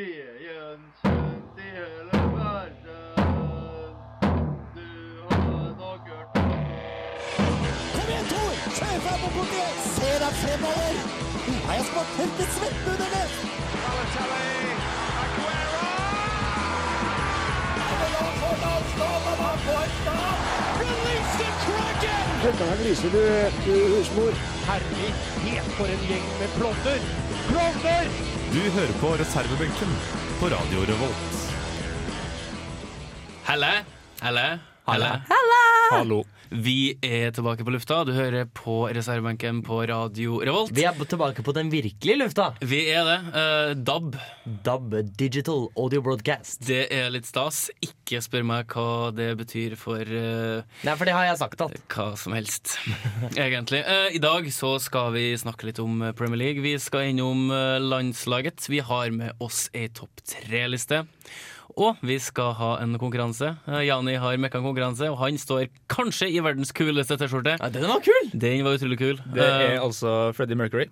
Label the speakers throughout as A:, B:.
A: Veien kjent i hele verden. Du har nok hørt om
B: Kom igjen, Tor! Kjør fram og bort igjen! Se deg fremover! Du har jeg smakt helt til svetten under det!
C: Du hører på reservebenken på Radio Revolt.
D: Helle, helle, helle.
C: Hallo.
D: Vi er tilbake på lufta. Du hører på reservebenken på Radio Revolt.
E: Vi er b- tilbake på den virkelige lufta.
D: Vi er det. Eh, DAB.
E: DAB, Digital Audio Broadcast.
D: Det er litt stas. Ikke spør meg hva det betyr for eh,
E: Nei, for det har jeg sagt alt.
D: hva som helst, egentlig. Eh, I dag så skal vi snakke litt om eh, Premier League. Vi skal innom eh, landslaget. Vi har med oss ei topp tre-liste. Og vi skal ha en konkurranse. Eh, Jani har mekka en konkurranse, og han står kanskje i verdens kuleste T-skjorte.
E: Ja, den var kul!
D: Den var utrolig kul.
F: Det
D: Eh,
F: er altså Freddie Mercury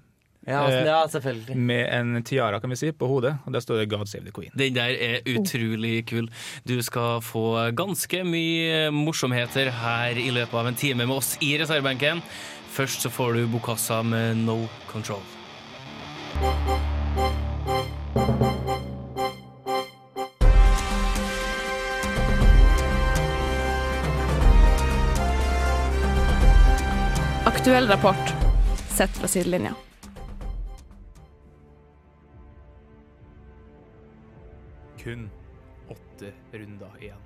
E: Ja, altså, ja selvfølgelig.
F: med en tiara kan vi si, på hodet, og der står det 'God save the Queen'.
D: Den der er utrolig kul. Du skal få ganske mye morsomheter her i løpet av en time med oss i reservebenken. Først så får du Bokassa med No Control.
G: Aktuell rapport sett fra sidelinja.
F: Kun åtte runder igjen.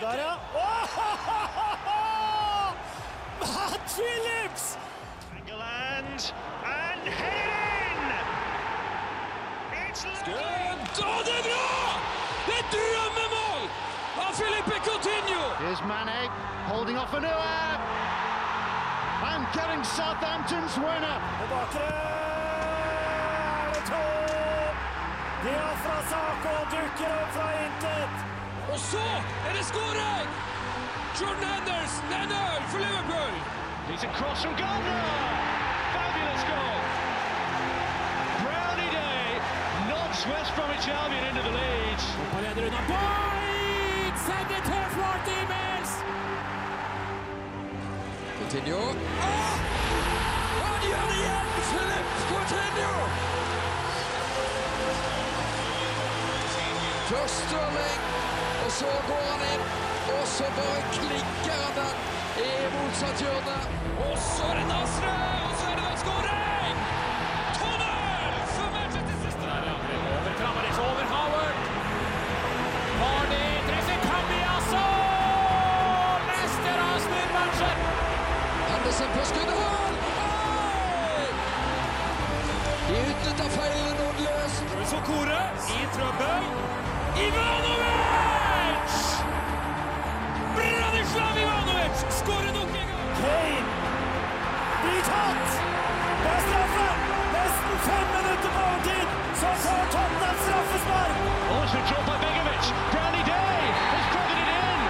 B: Der, ja. Åh! Matt Phillips!
A: Here's Mane holding off for Neuer. And getting Southampton's winner.
B: Og bakre er det to! Diafra Sako dukker opp fra intet.
H: Og så er det skåring! Jordan Henderson, 1-0 for Liverpool!
A: It's a cross from Gardner. Fabulous goal. Brownie Day knocks West Bromwich Albion into the lead.
H: Han leder unna Boyd! Sender til Flart Demons! Coutinho. Ah! Han gjør det igjen! Philip Coutinho! Først Stirling, og så går han inn. Og så bare klikker han den i motsatt hjørne. Og så er det Nasre, og så er det da skåring! Tunnel for Manchester City! Over Kramaric, over Howard. Vardy treffer Kambiasso! Leicester har snudd matchen! Andersen på skuddet her! Oi! De utnytter feilene noen løs. Sokore i trøbbel. Ivanovic! Branislav Ivanovic skårer nok en gang!
B: Kane blir tatt! Det er straffe! Nesten fem minutter på overtid, så får Tottenham straffespark!
A: Oh, it's controlled by Begovic. Brownie Day has crowded it in.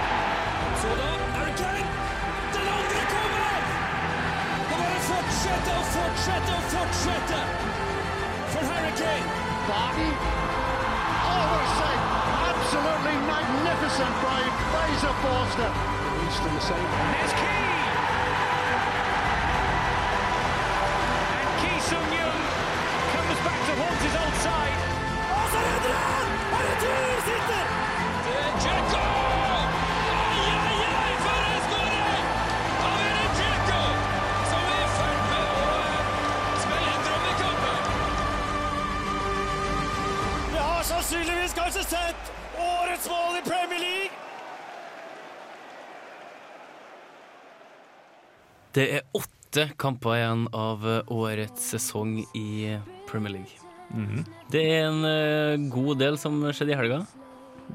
H: Så da er det Kane. Den andre kommer! Og bare fortsette og fortsette og fortsette! For Harry Kane.
A: Barton. Oh, what a save. Absolutely magnificent by Fraser Forster. He's done the same. And there's Key. And Key Sung-Yun comes back to haunt his old side.
B: Og så redder han! Er det tur sitter?
H: Det er Dzeko! Ai, ai, ai, for en skåring! Av Erik Dzeko, som er i ferd med å eh, spille en drøm i kampen.
B: Vi har sannsynligvis kanskje sett årets mål i Premier League.
D: Det er åtte kamper igjen av eh, årets sesong i Premier League.
F: Mhm.
D: Det er en eh, god del som skjedde i helga.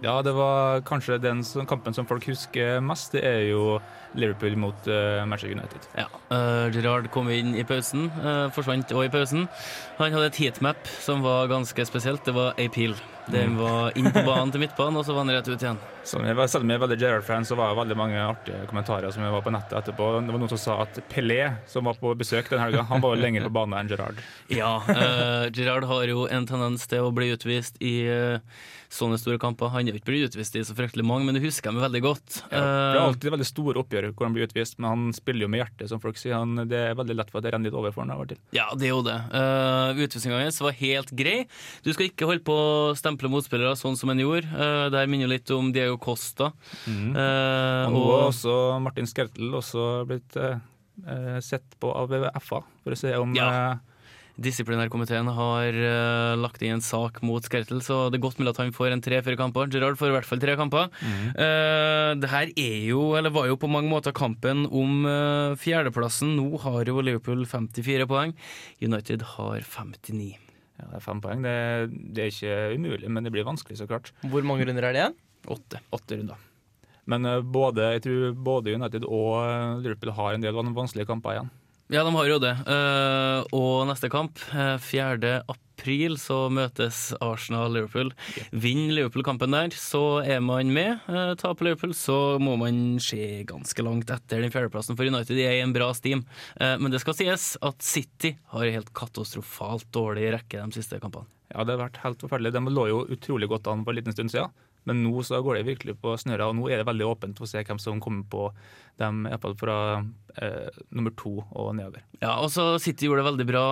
F: Ja, det var kanskje den som, kampen som folk husker mest. Det er jo Liverpool mot eh, Manchester United.
D: Ja. eh, Gerard kom inn i pausen, eh, forsvant òg i pausen. Han hadde et heatmap som var ganske spesielt. Det var appeal.
F: Mm.
D: Den var inn på banen til midtbanen, og så var den rett ut igjen.
F: Selv om jeg var- selv om jeg er veldig Gerrard-fan, så var det veldig mange artige kommentarer som jeg var på nettet etterpå. Det var noen som sa at Pelé, som var på besøk den helga, han var jo lenger på banen enn Gerrard.
D: Ja, uh, Gerard har jo en tendens til å bli utvist i eh, sånne store kamper. Han er jo ikke blitt utvist i så fryktelig mange, men det husker jeg meg veldig godt.
F: Ja, det er
D: Eh,
F: alltid veldig store oppgjør hvor han blir utvist, men han spiller jo med hjertet, som folk sier. Han, det er veldig lett for at det renner litt over for han av og til.
D: Ja, det er jo det. Uh, Utvisninga hans var helt grei. Du skal ikke holde på å stemple motspillere sånn som han gjorde. Eh, det her minner jo litt om Diego Costa. Eh,
F: Og nå er
D: og
F: også Martin Skertel også blitt eh, eh, sett på av FA, for å se om
D: Ja.
F: eh,
D: disiplinærkomiteen har eh, lagt inn en sak mot Skertel, så det er godt mulig at han får en tre-fire kamper. Gerard får i hvert fall tre kamper. Eh, det her er jo, eller var jo på mange måter kampen om eh, fjerdeplassen. Nå har jo Liverpool 54 poeng. United har 59.
F: ja, det er fem poeng. Det, det er ikke umulig, men det blir vanskelig, så klart.
E: Hvor mange runder er det igjen?
D: Åtte.
F: Åtte runder. Men eh, både, jeg tror både United og eh, Liverpool har en del van- vanskelige kamper igjen.
D: Ja, de har jo det. Eh, og neste kamp, eh, 4. april, så møtes Arsenal-Liverpool. Vinner Liverpool kampen der, så er man med. Eh, Taper Liverpool, så må man se ganske langt etter den fjerdeplassen, for United er i en bra stim. Eh, men det skal sies at City har en helt katastrofalt dårlig rekke de siste kampene.
F: Ja, det har vært helt forferdelig. De lå jo utrolig godt an for en liten stund siden. Men nå så går det virkelig på snøra, og nå er det veldig åpent å se hvem som kommer på dem, iallfall fra eh, nummer to og nedover.
D: Ja, og så City gjorde det veldig bra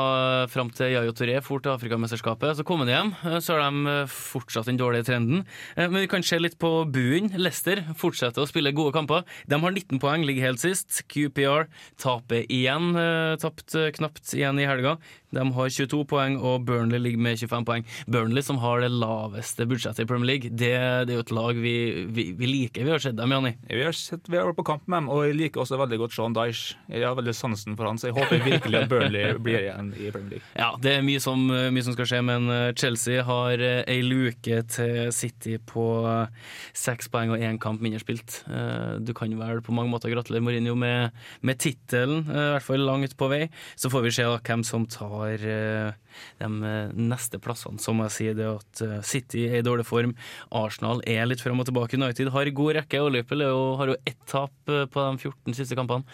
D: eh, fram til Yayo Touré for til Afrikamesterskapet. Så kom han hjem, eh, så har de eh, fortsatt den dårlige trenden. Eh, Men vi kan se litt på buen. Leicester fortsetter å spille gode kamper. De har 19 poeng, ligger helt sist. QPR taper igjen. eh, Tapt eh, knapt igjen i helga. De har 22 poeng, og Burnley ligger med 25 poeng. Burnley, som har det laveste budsjettet i Premier League, det, det er jo et lag vi, vi, vi liker. Vi har sett dem, Janni.
F: Vi har, sett, vi har vært på kamp med dem, og jeg liker også veldig godt Sean Dyche. Jeg har veldig sansen for han, så jeg håper virkelig at Burnley blir igjen i Premier League.
D: Ja, det er mye som, mye som skal skje, men eh, Chelsea har eh, ei luke til City på eh, seks poeng og én kamp mindre spilt. Eh, Du kan vel på mange måter gratulere Mourinho med, med tittelen, eh, i hvert fall langt på vei. Så får vi se da hvem som tar eh, de eh, neste plassene. Som jeg sier, det er at eh, City er i dårlig form, Arsenal er litt fram og tilbake, United har god rekke, og Liverpool er jo- har jo ett tap eh, på de 14 siste kampene.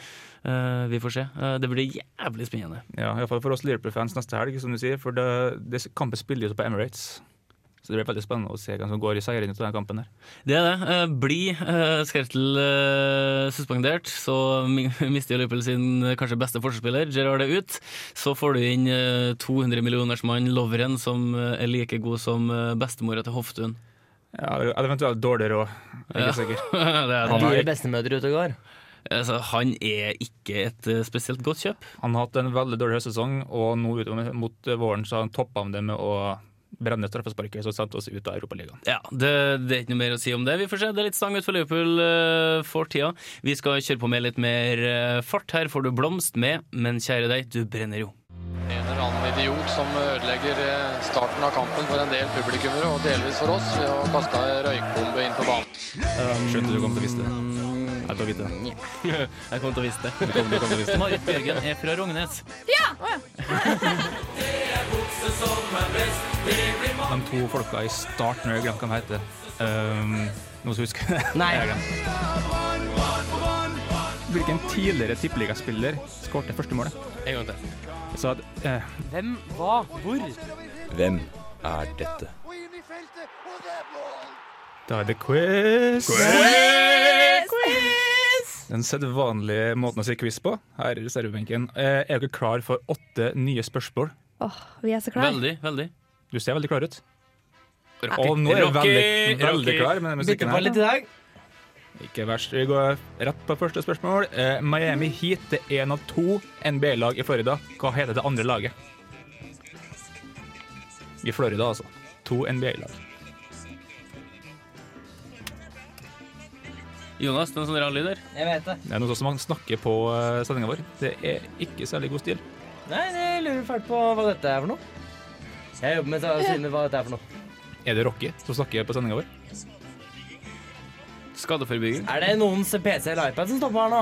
D: Eh, Vi får se. Eh, Det blir jævlig spennende.
F: Ja, Iallfall for oss Liverpool-fans neste helg, som du sier. For det, det kampen spiller jo på Emirates. Så det blir veldig spennende å se hvem som går i seieren ut av den kampen. her.
D: Det er det. Eh, Bli eh, Skertel eh, suspendert, så mi- mister jo Liverpool sin eh, kanskje beste forsvarsspiller. Gerrard er ut. Så får du inn eh, 200 millioners mann Lovren, som eh, er like god som eh, bestemora til Hoftun.
F: Ja, eller eventuelt dårlig råd. Jeg er ikke sikker.
D: det er
E: De
D: det.
E: er bestemødre ute og går.
D: Altså, han er ikke et eh, spesielt godt kjøp.
F: Han har hatt en veldig dårlig høstsesong, og nå utover mot våren så har han toppa han det med å brenne straffesparket som sendte oss ut av Europaligaen.
D: Ja, det, det er ikke noe mer å si om det. Vi får se. Det er litt stang ut for Liverpool eh, for tida. Vi skal kjøre på med litt mer eh, fart. Her får du blomst med, men kjære deg, du brenner jo.
I: En eller annen idiot som ødelegger eh, starten av kampen for en del publikummere, og delvis for oss, ved å kaste en røykbombe inn på banen.
F: Skjønte du kom til å vise det. Jeg til å vite det.
D: Jeg kommer til å vise det. Marit Bjørgen er fra Rognes.
F: De to folka i starten, jeg glemte hva de heter. Ehm, noen som husker det?
E: Nei.
F: Jeg har glemt. Hvilken tidligere tippeligaspiller skåret første målet?
D: En gang til.
F: Jeg sa at eh,
E: Hvem, hva, hvor?
J: Hvem er dette?
F: Da er det quiz! Den sedvanlige måten å si quiz på her i reservebenken. Eh, er dere klar for åtte nye spørsmål?
G: Åh, vi er så klare.
D: Veldig, veldig.
F: Du ser veldig klar ut. Og nå er du veldig, veldig klar med den musikken her.
E: i dag.
F: Ikke verst. Vi går rett på første spørsmål. Eh, Miami Heat er én av to NBA-lag i Florida. Hva heter det andre laget? I Florida, altså. To NBA-lag.
D: Jonas, den sånn rar lyd der.
E: Jeg vet det.
F: Det er noe som man snakker på sendinga vår. Det er ikke særlig god stil.
E: Nei, jeg lurer fælt på hva dette er for noe. Jeg jobber med å si med hva dette er for noe.
F: Er det Rocky som snakker på sendinga vår?
D: Skadeforebygging.
E: Er det noens PC eller iPad som stopper her nå?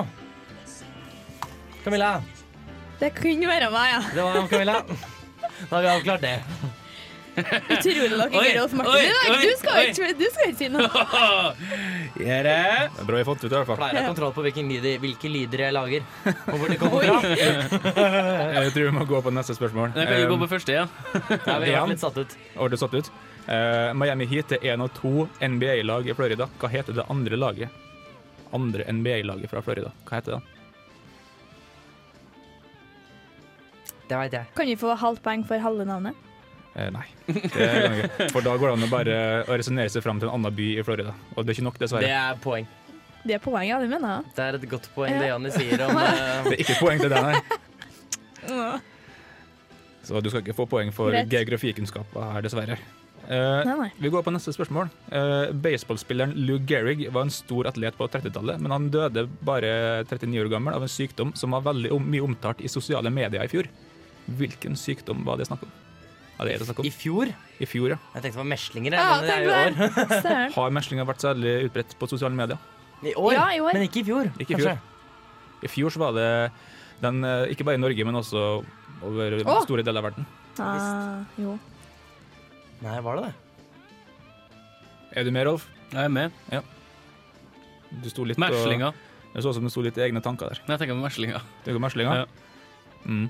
E: Camilla.
G: Det kunne være meg, ja.
E: Det var Camilla. Da har vi avklart det.
K: Utrolig nok
D: Oi,
K: ikke Rolf Martin.
D: oi,
K: Du, nei,
D: oi,
K: du, skal
D: oi.
K: ikke, du skal ikke si noe.
D: Gjør det?
E: Det er bra jeg fant ut det, i hvert fall. Pleier å ha kontroll på hvilken lyd, hvilke lyder jeg lager. Og hvor de kommer
F: Oi.
E: fra.
F: Jeg tror vi må gå på neste spørsmål.
D: Da kan vi gå på første, Um, ja.
E: Ja, vi har blitt satt ut.
F: Har du satt ut? Eh, Miami Heat er én av to NBA-lag i Florida. Hva heter det andre laget? Andre NBA-laget fra Florida. Hva heter det?
E: Det veit jeg.
K: Kan vi få halvt poeng for halve navnet?
F: Eh, nei. Det kan vi ikke. For da går det an å bare å resonnere seg fram til en annen by i Florida. Og det er ikke nok, dessverre.
E: Det er poeng.
K: Det er poeng, ja. Det mener jeg.
E: Det er et godt poeng det
K: Ja.
E: Janni sier om eh,
F: Det er ikke poeng til det, nei.
K: Åh.
F: Så du skal ikke få poeng for
K: Greit.
F: geografikunnskaper her, dessverre. Eh,
K: Nei, nei.
F: Vi går på neste spørsmål. Eh, Baseballspilleren Lou Gehrig var en stor atlet på 30-tallet, men han døde bare 39 år gammel av en sykdom som var veldig om, mye omtalt i sosiale medier i fjor. Hvilken sykdom var det snakk om? Ja, det er det snakk om.
E: I fjor?
F: I fjor, ja.
E: Jeg tenkte det var meslinger,
K: Ja,
E: jeg, men det er jo i år.
K: Søren.
F: Har meslinger vært særlig utbredt på sosiale medier?
E: I år,
K: Ja, i år.
E: men ikke i fjor.
F: Ikke i
E: kanskje.
F: fjor. I fjor så var det den, eh, ikke bare i Norge, men også over
K: Å!
F: store deler av verden.
K: Ah, jo.
E: Nei, var det det?
F: Er du med, Rolf?
D: Jeg er med.
F: Ja. Du sto litt
D: Meslinger.
F: Og, det så ut som du sto litt i egne tanker der.
D: Jeg tenker på meslinger.
F: Det går meslinger?
D: Ja.
F: Mm.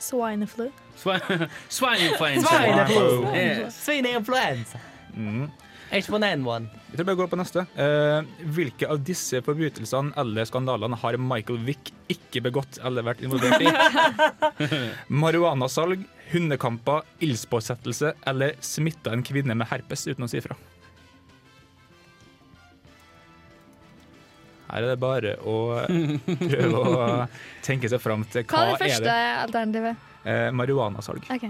K: Swineflu.
D: Swine- Swineinfluenza.
E: Swineflu.
D: Yeah.
E: Svineinfluensa.
F: Mm.
E: H1N1.
F: Jeg tror jeg bare går på neste. Eh, hvilke av disse forbrytelsene eller skandalene har Michael Wick ikke begått eller vært involvert i? Marihuanasalg, hundekamper, ildspåsettelse eller smitta en kvinne med herpes uten å si fra? Her er det bare å prøve å tenke seg fram til
K: Hva
F: hva,
K: er det første alternativet?
F: Eh, marihuanasalg.
K: Ok.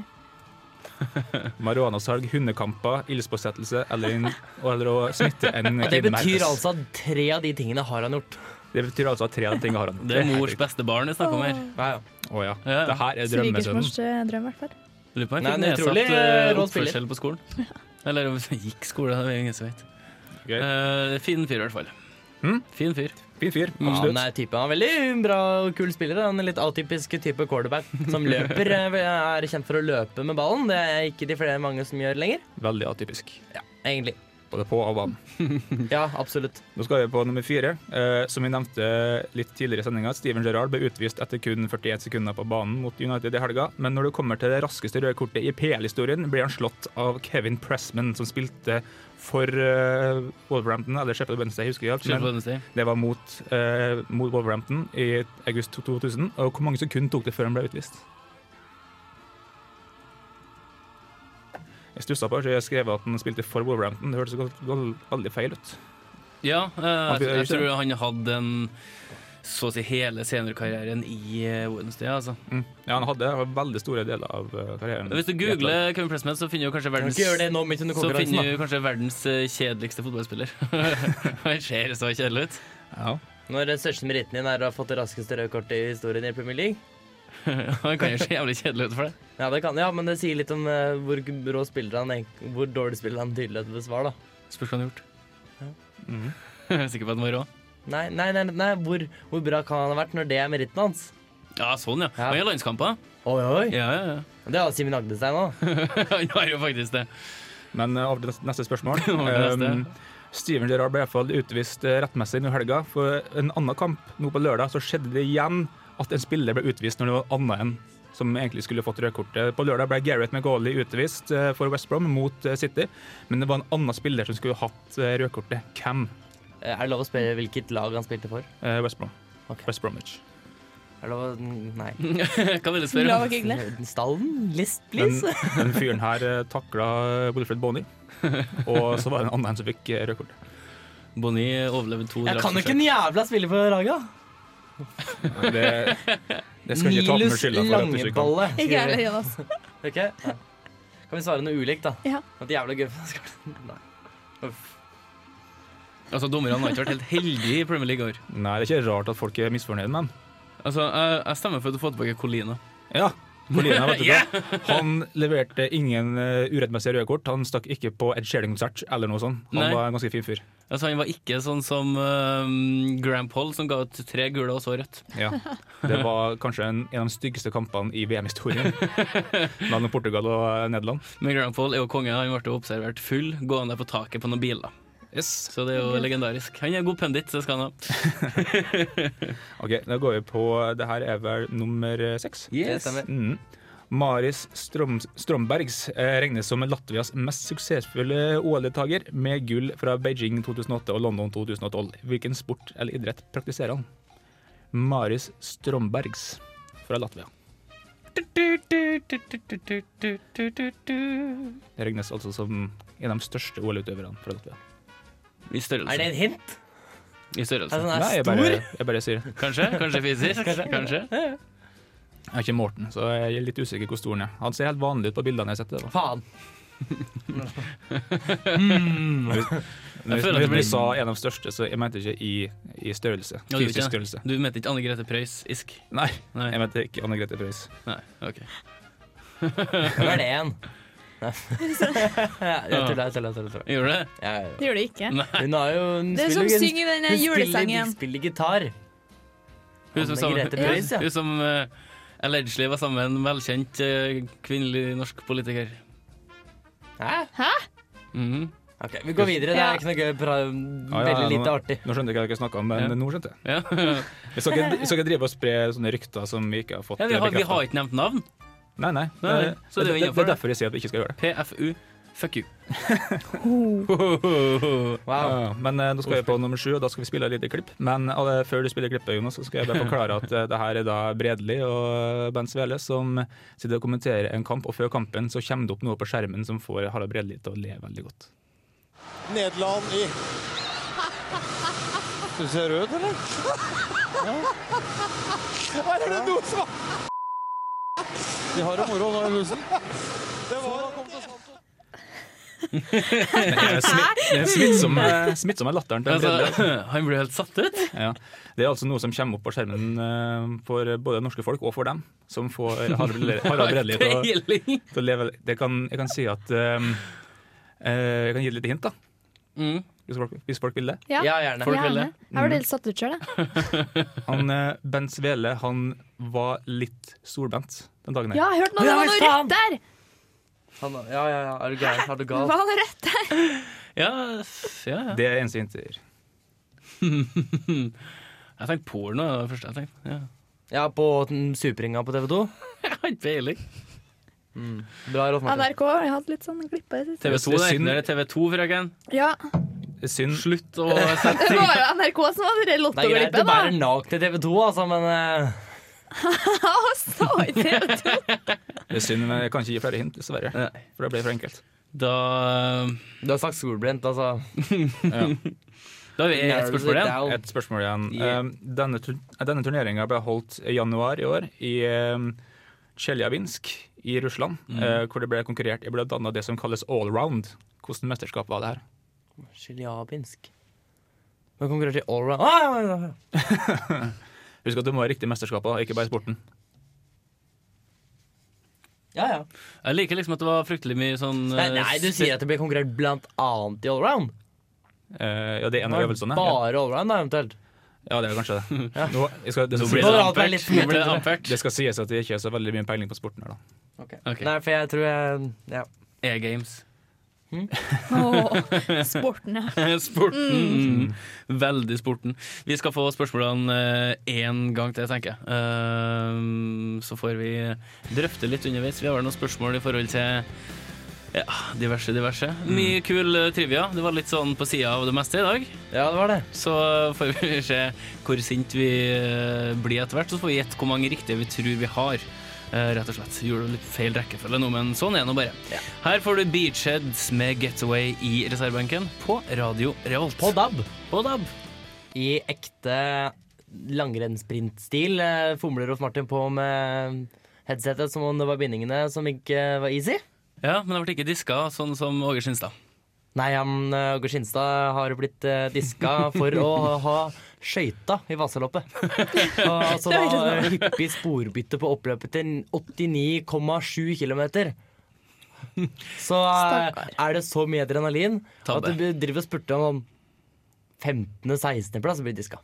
F: Marihuanasalg, hundekamper, ildspåsettelse eller, en- eller å smitte en kvinne med
E: Og Det
F: herpes.
E: betyr altså at tre av de tingene har han gjort.
F: Det betyr altså at tre av de tingene har han.
D: Det er mors beste barn jeg snakker om her.
E: Ja, ja.
F: Å ja.
D: Ja.
F: Det her er drømmesønnen.
K: Svigersmors eh, drøm, i hvert fall.
D: Lurer på om
E: Nei,
D: jeg fikk
E: det er utrolig,
D: nedsatt eh,
E: rå spiller.
D: oppførsel på skolen. Eller om jeg gikk skole, det er ingen som vet.
F: Gøy.
D: Eh, fin fyr, i hvert fall.
F: Mm.
D: Fin fyr.
F: Fin fyr.
E: Ja,
F: Absolutt.
E: han er typen han er veldig bra og kul spiller. da. En litt atypisk type quarterback som løper. eh, Er kjent for å løpe med ballen. Det er ikke de flere mange som gjør lenger.
F: Veldig atypisk.
E: Egentlig.
F: Både på og banen.
E: Ja, absolutt.
F: Nå skal vi på nummer fire. Eh, som vi nevnte litt tidligere i sendinga, Steven Gerrard ble utvist etter kun 41 sekunder på banen mot United i helga. Men når det kommer til det raskeste røde kortet i PL-historien, blir han slått av Kevin Pressman, som spilte for eh, Wolverhampton, eller Sheffield Wednesday, jeg husker jeg ikke.
D: Skjønner på
F: Men
D: den sted.
F: det var mot, eh, mot Wolverhampton i august 2000. Og hvor mange sekunder tok det før han ble utvist? Jeg stussa på, så jeg skrev at han spilte for Wolverhampton. Det hørtes gal- gal- veldig feil ut.
D: Ja, eh, jeg,
F: blir-
D: jeg tror han hadde en så å si hele seniorkarrieren i eh, Wednesday. Altså.
F: Mm. Ja, han hadde veldig store deler av eh, karrieren.
D: Hvis du googler Kevin Pressman, så finner du kanskje
E: Kan
D: verdens
E: ikke gjøre det nå midt under
D: så finner
E: konkurransen.
D: du kanskje verdens eh, kjedeligste fotballspiller. Han ser så kjedelig ut.
F: Ja.
E: da. Når den største meritten din er å ha fått det raskeste røde kortet i historien i Premier League.
D: Han kan jo se jævlig kjedelig ut for det.
E: Ja, det kan, ja, men det sier litt om eh, hvor rå spiller han egentlig- Hvor dårlig spiller han tydeligvis var, da.
D: Spørs hva han har gjort.
F: Mm.
D: Jeg er Mhm. Sikker på at han var rå.
E: Nei, nei, nei, nei hvor, hvor bra kan han ha vært når det er meritten hans?
D: Ja, sånn, ja. Han gjør landskamper.
E: Oi, oi.
D: Ja, ja, ja.
E: Det har Simen Agdestein òg.
D: Han har jo faktisk det.
F: Men eh, over til neste- neste spørsmål.
D: Over til neste.
F: Um, Steven Gerrard ble i hvert fall utvist eh, rettmessig nå i helga. For en annen kamp nå på lørdag så skjedde det igjen at en spiller ble utvist når det var annet enn som egentlig skulle fått rødkortet. På lørdag ble Gareth McGauley utvist eh, for West Brom mot eh, City, men det var en annen spiller som skulle hatt eh, rødkortet. Hvem?
E: Eh, Er det lov å spørre hvilket lag han spilte for?
F: Eh, West Brom.
E: Ok.
F: West Bromwich.
E: Er det lov å Nei.
D: Hva vil du spørre
K: La
D: om?
K: oss google.
E: Stallen? List,
F: Den,
E: please?
F: den fyren her eh, takla Wilfred Bonny, og så var det en annen som fikk eh, rødkortet.
D: Bonnie overlevde to
E: Jeg kan jo ikke
D: drapsforsøk.
E: en jævla spille for laget.
F: Det, det skal ikke ta med
E: Nilus
F: skylda for at du ikke kan.
E: Langeballe.
K: Ikke jeg heller, Jonas.
E: Ok? Nei. Kan vi svare noe ulikt, da?
K: Ja.
E: At jævla gøy Nei. Uff.
D: Altså, Dommerne har ikke vært helt heldige i Premier League i år.
F: Nei, det er ikke rart at folk er misfornøyd med han.
D: Altså, jeg, jeg stemmer for å få tilbake Colina.
F: Ja, Molina, vet du hva? Han leverte ingen eh, urettmessige røde kort. Han stakk ikke på Ed Sheeran-konsert eller noe sånt. Han
D: Nei.
F: var en ganske fin fyr.
D: Altså, han var ikke sånn som eh, Graham Poll, som ga ut tre gule og så rødt.
F: Ja. Det var kanskje en, en av de styggeste kampene i VM-historien. Mellom Portugal og Nederland.
D: Men Graham Poll er jo konge. Han ble jo observert full gående på taket på noen biler. Så det er jo legendarisk. Han er god pundit, det skal han ha.
F: Ok, Da går vi på Det her er vel nummer eh, seks?
D: Yes. Det stemmer.
F: Mm. Maris Strom, Strombergs eh, regnes som Latvias mest suksessfulle OL-deltaker, med gull fra Beijing 2008 og London 2012. Hvilken sport eller idrett praktiserer han? Maris Strombergs fra Latvia. Det regnes altså som en av de største OL-utøverne fra Latvia.
D: I størrelse.
E: Er det et hint?
D: I størrelse.
E: Altså, han er
F: Nei, jeg
E: stor?
F: bare, jeg bare sier det.
D: Kanskje? Kanskje fysisk? Kanskje?
F: Jeg er ikke Morten, så jeg er litt usikker hvor stor han er. Han ser helt vanlig ut på bildene jeg har sett. Det, da.
E: Faen.
F: Når
D: Jeg
F: vi,
D: føler at
F: når
D: det
F: vi
D: blir-
F: sa en av de største, så jeg mente ikke i, i størrelse.
D: Ja, du vet
F: Fysisk
D: ikke.
F: størrelse.
D: Du mente ikke Anne Grete Preus isk?
F: Nei,
D: Nei.
F: jeg mente ikke Anne Grete Preus.
D: Nei, ok.
F: Mm.
E: Hvem er det igjen? Nei. Jeg tuller, jeg tuller. jeg tuller.
D: Gjorde det?
E: Ja, ja, ja.
G: Det gjør det ikke.
E: Hun har jo hun
G: Det er
E: spiller
G: som
E: jo-
G: synger den eh,
E: hun spiller-
G: julesangen.
E: Hun spiller gitar.
D: Hun som,
E: Anne
D: sammen,
E: Grete Preus, ja.
D: hun som eh, allegedly var sammen med en velkjent eh, kvinnelig norsk politiker.
E: Hæ?
D: Mhm.
E: Ok, Vi går videre. Det
G: Ja.
E: er ikke noe gøy. pra-
F: ja,
E: Veldig
F: nå-
E: lite artig.
F: Nå skjønte jeg hva dere snakka om, men
D: Ja.
F: nå skjønte jeg.
D: ja.
F: Vi skal ikke, vi skal ikke drive og spre sånne rykter som vi ikke har fått
D: ja, vi, har, vi
F: bekreftet.
D: har ikke nevnt navn.
F: Nei, nei.
D: Nei,
F: det,
D: så det er jo
F: det, det,
D: innenfor.
F: er derfor jeg sier at vi ikke skal gjøre det.
D: PFU. Fuck you.
E: Wow.
F: Ja, men eh, nå skal vi på nummer sju, og da skal vi spille et lite klipp. Men alle- før du spiller klippet, Jonas, så skal jeg bare forklare at eh, det her er da Bredli og Ben Svele som sitter og kommenterer en kamp, og før kampen så kommer det opp noe på skjermen som får Harald Bredli til å le veldig godt.
B: Nederland i Du ser rød, eller? Ja. Her er det noe som De har det moro nå i huset. Det var
F: Det er smitt- det er smittsomme, Eh, smittsomme latteren til Bredli.
D: Altså, han ble helt satt ut.
F: Ja. Det er altså noe som kommer opp på skjermen eh, for både norske folk og for dem, som får Harald Bredli- Harald Bredli til å,
D: Peiling.
F: til å leve. Det kan, jeg kan si at eh, eh, Jeg kan gi et lite hint, da,
D: Mm.
F: hvis folk, hvis folk vil det.
K: Ja.
E: Ja, gjerne.
D: Folk vil
K: Gjerne.
D: det.
K: Jeg ble helt satt ut sjøl, jeg.
F: Han, eh, Bent Svele han var litt solbrent den dagen. her.
K: Ja, jeg hørte noe, det var noe rødt der!
E: Han, ja, ja, ja. Er du gæren? Er du gal?
K: Var det rødt der?
D: Ja, f- ja, ja.
F: Det er eneste hintet.
D: Jeg tenkte porno. Det var det første jeg tenkte. Ja.
E: Ja, på den Superringa på TV2.
D: Jeg har ikke peiling.
E: Bra, Rolf Martin.
K: NRK har hatt litt sånn glippe i det siste.
D: TV 2,
F: Det
D: det
F: er
D: er
F: synd.
D: ikke TV 2, frøken.
K: Ja,
F: Synd.
D: Slutt å sette
K: det var jo NRK som hadde
E: Det er
K: det
E: greit du
K: lottoglippet, da.
E: bærer nakne TV 2, altså, men eh,
K: Ja, og så i TV 2.
F: Det er synd, men jeg kan ikke gi flere hint, dessverre. For det ble for enkelt.
D: Da,
E: du har sagt solbrent, altså.
D: da har vi ett spørsmål igjen.
E: Narrows it down.
F: Et spørsmål igjen.
E: Yeah.
F: Eh, Denne, tur- denne turneringa ble holdt i januar i år i eh, Tsjeljabinsk i Russland, eh, hvor det ble konkurrert i bl.a. det som kalles allround. Hvordan mesterskap var det her?
E: Tsjeljabinsk. Hvem konkurrerer til allround ah, ja, ja, ja.
F: Husk at du må ha riktig mesterskap, da, ikke bare sporten.
E: ja, ja.
D: Jeg liker liksom at det var fryktelig mye sånn
E: Nei, nei, du sier at det blir konkurrert blant annet i allround?
F: Eh, ja, det er en av
E: Var det
F: øvelsene. Ja,
E: Bare allround, da, eventuelt.
F: ja, det er kanskje det. Nå, jeg skal, det,
D: Nå
F: skal
D: blir
E: Nå
D: det
F: sies,
E: drar det
D: ampert.
E: litt for mye
D: Nå blir det
E: til det.
D: ampert.
F: det skal sies at jeg ikke har så veldig mye peiling på sporten her, da.
D: Ok.
E: Nei, for jeg tror jeg ja.
D: E-games.
K: Åh, sporten, ja.
D: Sporten. Mm. Veldig sporten. Vi skal få spørsmålene én gang til, tenker jeg. Ehm, Så får vi drøfte litt underveis. Vi har vel noen spørsmål i forhold til ja, diverse, diverse. Mye kul eh, trivia. Det var litt sånn på sida av det meste i dag.
E: ja, det var det.
D: Så får vi se hvor sint vi eh, blir etter hvert. Så får vi gjette hvor mange riktige vi tror vi har. eh, Rett og slett. Gjorde litt feil rekkefølge nå, men sånn er det nå bare. Her får du Beachheads med Getaway i reservebenken på Radio Revolt.
E: På DAB.
D: På DAB.
E: I ekte langrennsprintstil eh, fomler Rolf Martin på med headsetet som om det var bindingene som ikke var easy.
D: Ja, men det ble ikke diska, sånn som Åge Skinstad.
E: Nei, han eh, Åge Skinstad har blitt eh, diska for å ha skøyta i vaseloppet. Og Så da eh, hyppig sporbytte på oppløpet til 89,7 km. Så eh,
K: Stakkar.
E: er det så mye adrenalin
D: Tabbe.
E: at du driver og spurter om 15.-16.-plass blir diska.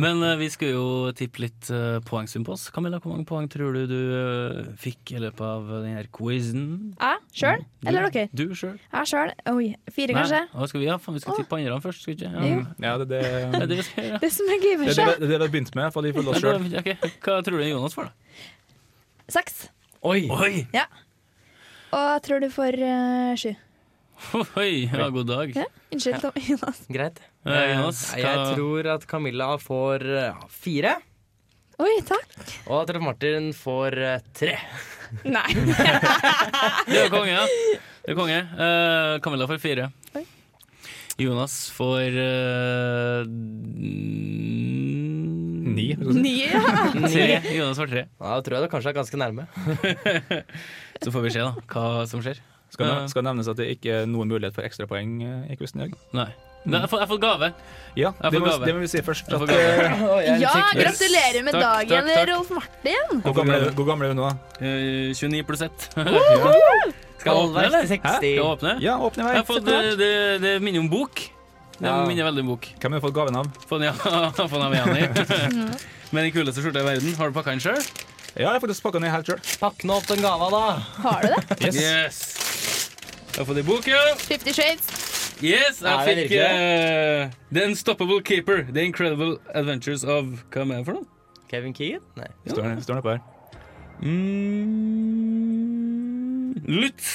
D: Men eh, vi skulle jo tippe litt eh, poengsum på oss. Camilla, hvor mange poeng tror du du eh, fikk i løpet av denne quizen?
K: Jeg sjøl,
D: Du-
K: eller dere?
D: Du sjøl.
K: Jeg sjøl. Oi, fire, kanskje?
D: Hva skal vi ha? Faen, Vi skal tippe andre først, skal vi ikke?
K: Jo.
F: Ja, det, det,
D: Det er
F: det,
D: det vi skal gjøre.
K: Det som er
F: det,
K: giver
F: det,
K: seg.
F: det, det vi begynte med, for de følger oss
D: Ja,
F: sjøl.
D: det- ok. Hva tror du Jonas får, da?
K: Seks.
E: Oi!
D: Oi!
K: Ja. Og jeg tror du får eh, sju.
D: Oi, ja, god dag.
K: Ja. Unnskyld, Tom Jonas.
E: Greit.
D: Eh, Jonas,
E: Eh, Jeg
D: hva-
E: tror at Camilla får eh, fire,
K: Oi, takk.
E: og at Rolf Martin får eh, tre.
K: Nei.
D: Du er konge, ja. Du er konge. Eh, Camilla får fire.
K: Oi.
D: Jonas får eh, n-
F: Ni.
K: Nye, ja.
D: Tre. Jonas får tre.
E: Ja, Da tror jeg det kanskje er ganske nærme.
D: Så får vi se da, hva som skjer.
F: Skal, nev- skal nevnes at det ikke er noen mulighet for ekstrapoeng eh, i quizen i dag.
D: Nei. Nei, jeg har fått- jeg har fått gave. Jeg
F: Ja, det
D: får
F: må,
D: gave.
F: vi- det må vi si først.
D: Jeg får
F: At,
D: gave.
F: eh,
D: Yes.
K: ja, gratulerer med
D: Takk,
K: dagen,
D: takk, takk.
K: Rolf Martin.
F: hvor, gammel, er- hvor gammel er du nå?
D: Eh, 29 pluss 1. Skal jeg åpne,
E: Halvveis
D: eller?
E: til
D: Skal jeg
E: 60.
D: åpne?
F: Ja, åpne
D: Jeg
F: vei.
D: har fått, det, det, det minner om bok. Det
E: Ja.
D: minner veldig om bok.
F: Hvem har du fått gaven av?
D: Få den, ja, få den av Jani. Med den kuleste skjorta i verden. Har du pakka den sjøl?
F: Ja, jeg har faktisk pakka ned helt sjøl.
E: Pakk nå opp den gava, da.
K: Har du det?
F: Yes.
D: Yes. Jeg har fått ei bok, ja.
K: Fifty Shades.
D: Yes, jeg
E: Er det
D: fikk
E: virkelig?
D: eh, The Unstoppable Keeper. The Incredible Adventures of Hva er det for noe?
E: Kevin Keegan? Nei.
F: Står den- står den oppe her.
D: Mm, Lutz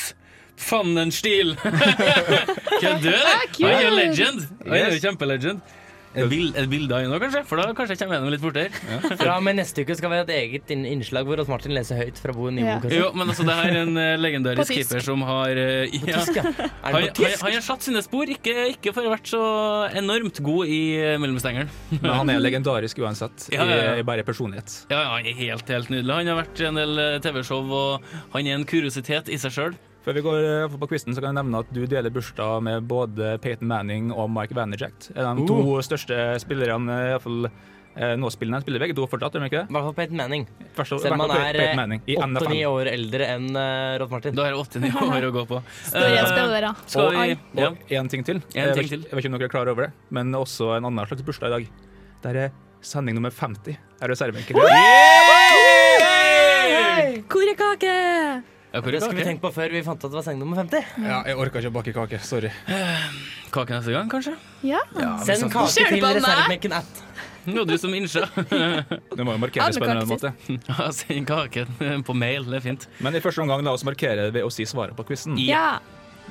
D: Pfannenstiel. Kødder du? eller?
K: Ah, kult.
D: Han er legend. Han er
F: Yes.
D: kjempelegend. Et bil- et bilde av henne kanskje? For da kanskje jeg kommer gjennom litt fortere.
E: Fra og med neste uke skal vi ha et eget inn- innslag hvor Rolf Martin leser høyt fra Bo
K: Ja.
E: Nivå.
D: Jo, men altså, det her er en eh,
K: På
D: legendarisk
K: tysk.
D: keeper som har eh, ja.
E: Tysk, ja. Er
D: Han,
E: det på
D: han,
E: tysk?
D: han har satt sine spor, ikke, ikke for å ha vært så enormt god i eh, mellomstengeren.
F: Men han er legendarisk uansett,
D: Ja, ja, ja.
F: I, i bare personlighet.
D: Ja, ja, han er helt, helt nydelig. Han har vært i en del eh, TV-show, og han er en kuriositet i seg sjøl.
F: Før vi går eh, på quizen, så kan jeg nevne at du deler bursdag med både Peyton Manning og Mike Vanderjack. De to største spillerne, iallfall nåspillerne, eh, spiller begge to fortsatt, gjør de ikke
E: I
F: det?
E: hvert fall Peyton Manning.
F: Først og-
E: Selv om
F: hvertfall
E: han er
D: eh,
F: Peyton Manning i NFL.
E: 8-9 år eldre enn eh, Rolf Martin.
D: Da har jeg 89 år å gå på.
K: Store
D: Eh,
K: spillere.
D: skal vi
F: Og
D: ja.
F: én ting til.
D: En
F: jeg,
D: ting
F: vet,
D: til.
F: jeg vet ikke om dere er klar over det, men også en annen slags bursdag i dag. Der er sending nummer 50 er reservebenken.
K: Hvor er kake?
D: Ja, hvor er
E: Det skulle vi
D: kake?
E: tenkt på før vi fant ut at det var seng nummer 50.
F: Ja, jeg orka ikke å bake kake, sorry.
D: Kake neste gang, kanskje?
K: Ja.
E: Send kake
K: Ser du
E: til
K: på meg?
E: reservebenken at.
D: Jo, du som innsjø.
F: Det må jo markeres på en eller annen måte.
D: Ja, Send kaken eh, på mail, det er fint.
F: Men i første omgang la oss markere ved å si svaret på quizen.
K: ja.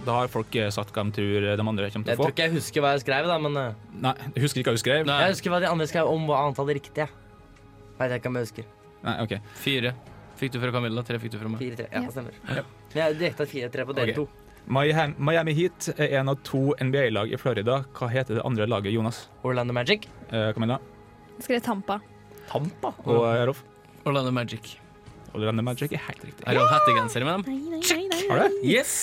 F: Da har folk eh, sagt hva de tror de andre kommer
E: Jeg
F: til å
E: tror
F: få.
E: ikke jeg husker hva jeg skrev, da, men eh,
F: Nei, jeg husker ikke hva du skrev.
D: Nei,
E: jeg husker hva de andre skrev om hva antallet riktige. Veit jeg ikke om jeg husker.
F: Nei, ok.
D: fire. Fikk du fra Camilla, tre fikk du fra meg.
E: Fire-tre. Ja,
K: Ja.
E: det stemmer. Men jeg direkte fire-tre på dere
F: Ok.
E: to.
F: Miami Miami Heat er en av to NBA-lag i Florida. Hva heter det andre laget, Jonas?
E: Orlando Magic.
F: Eh, Camilla
K: Jeg skrev Tampa.
E: Tampa.
F: og eh, Rolf?
D: Orlando Magic.
F: Og Randy Magic er helt riktig.
D: Jeg har hettegenser med dem.
K: Nei, nei, nei. nei.
F: Har du det?
D: Yes!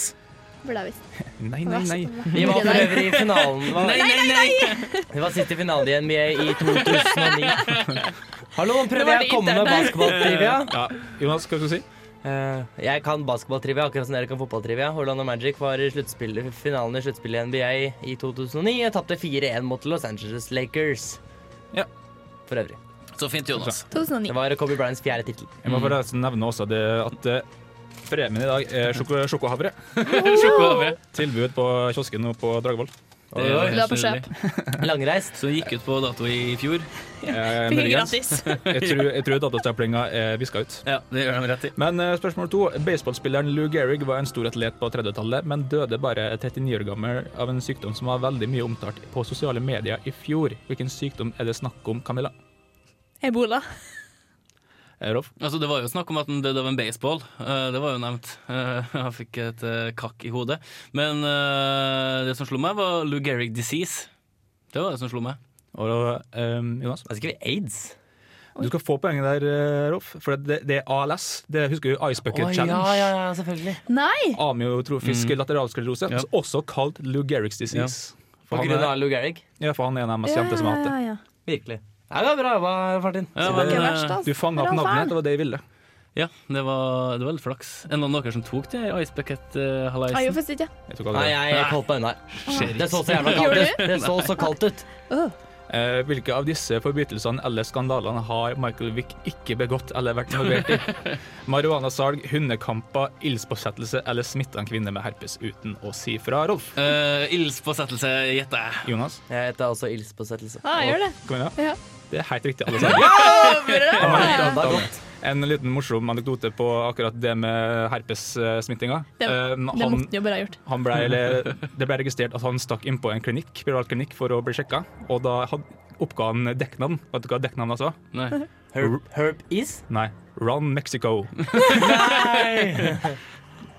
K: Burde jeg visst.
F: Nei, nei, nei.
E: Vi var for øvrig i finalen. Vi var,
D: Nei, nei, nei!
E: vi var sist i finalen i NBA i 2009. Hallo, nå
K: Det var
E: prøver jeg
K: det
E: å komme med
K: interne.
E: basketballtrivia.
F: Ja, Jonas, hva skal du si?
E: Eh, jeg kan basketballtrivia akkurat som dere kan fotballtrivia. Orlando Magic var i sluttspillet- finalen i sluttspillet i NBA i 2009 og tapte 4-1 mot Los Angeles Lakers.
F: Ja.
E: For øvrig.
D: Så fint, Jonas.
K: 2009.
E: Det var Kobe Bryants fjerde tittel.
F: Jeg må forresten nevne også det at eh, premien i dag er sjoko sjokohavre.
D: Sjokolade.
F: Tilbud på kiosken nå på Dragvoll.
D: Det er jo helt
K: Du er på
D: nydelig.
E: Langreist.
D: Som gikk ut på dato i fjor.
F: Eh,
K: Fikk jeg
F: muligens.
K: gratis.
F: Jeg tror, jeg tror datastemplinga er viska ut.
D: Ja, det gjør de rett i.
F: Men eh, spørsmål to. Baseballspilleren Lou Gehrig var en stor atlet på 30-tallet, men døde bare 39 år gammel av en sykdom som var veldig mye omtalt på sosiale medier i fjor. Hvilken sykdom er det snakk om, Camilla?
K: Ebola.
F: Eh, Rolf?
D: Altså, det var jo snakk om at han døde av en baseball. Eh, det var jo nevnt. Eh, han fikk et eh, kakk i hodet. Men eh, det som slo meg, var Lou Gehrig disease. Det var det som slo meg.
F: Og eh, Jonas?
E: Da skriver vi aids.
F: Du skal få poenget der, eh, Rolf, for det, det er ALS. Det husker du Ice Bucket
E: Å, ja,
F: Challenge.
E: ja, ja, selvfølgelig.
K: Nei!
F: Amyotrofisk lateralsklerose,
D: Ja.
F: også kalt Lou Gehrig's disease. For,
E: På
F: han
E: grunn
F: er,
E: av Lou Gehrig.
F: ja, for han er en av de mest kjente som har hatt det.
K: ja.
E: Virkelig. Ja, det var bra jobba, Martin.
D: Ja,
F: Så
D: men,
F: det-
K: Ikke
D: eh,
K: verst, altså.
F: Du fanga opp
K: Rolf
F: navnet,
K: Arn.
F: det var det jeg ville.
D: Ja, det var, det var litt flaks. Er det noen av dere som tok det Ice Bucket-halaisen?
K: Jeg gjorde faktisk ikke.
E: Nei, jeg, jeg holdt på unna.
D: Skjer
E: Det så så
D: ikke.
E: jævla kaldt
K: Gjorde
E: ut.
K: du?
E: Det så så kaldt ut.
K: Åh.
F: Eh, hvilke av disse forbrytelsene eller skandalene har Michael Wick ikke begått eller vært involvert i? Marihuanasalg, hundekamper, ildspåsettelse eller smitte en kvinne med herpes uten å si fra, Rolf?
D: Eh, Ildspåsettelse, gjetter jeg.
F: Jonas?
E: Jeg heter altså også ildspåsettelse.
K: Ja, jeg Ah, gjør det.
F: Kom igjen,
K: Ja.
F: da. Det er helt riktig, alle sammen.
K: Bra!
E: Det var godt.
F: En liten morsom anekdote på akkurat det med herpessmittinga.
K: Det,
F: Eh,
K: det
F: han-
K: måtte den jo bare ha gjort.
F: Han ble, eller, det ble registrert at han stakk inn på en klinikk, privatklinikk for å bli sjekka, og da had- oppga han dekknavn. Vet du hva altså? dekknavnet hans var?
D: Nei.
E: Herb, herb is?
F: Nei, Ron Mexico.
E: Nei!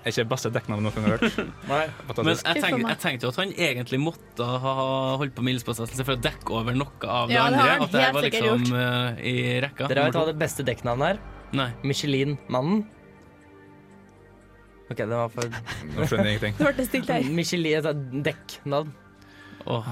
F: Er ikke det beste dekknavnet noen gang har hørt.
E: Nei.
D: Men
F: Fantastisk.
D: jeg,
K: Uff a
D: tenk,
K: meg.
D: jeg tenkte jo at han egentlig måtte ha holdt på med ildspåsettelse for å dekke over noe av det
K: Ja, det har
D: andre.
K: han
D: At det
K: helt
D: var
K: sikkert
D: liksom eh, i rekka.
E: Dere vet hva
D: Nummer
E: det beste dekknavnet er?
D: to. Nei.
E: Michelin-mannen. OK, det var for
F: Nå skjønner jeg ingenting.
K: Det ble stilt her.
E: Michelin altså, dekknavn.
D: Åh.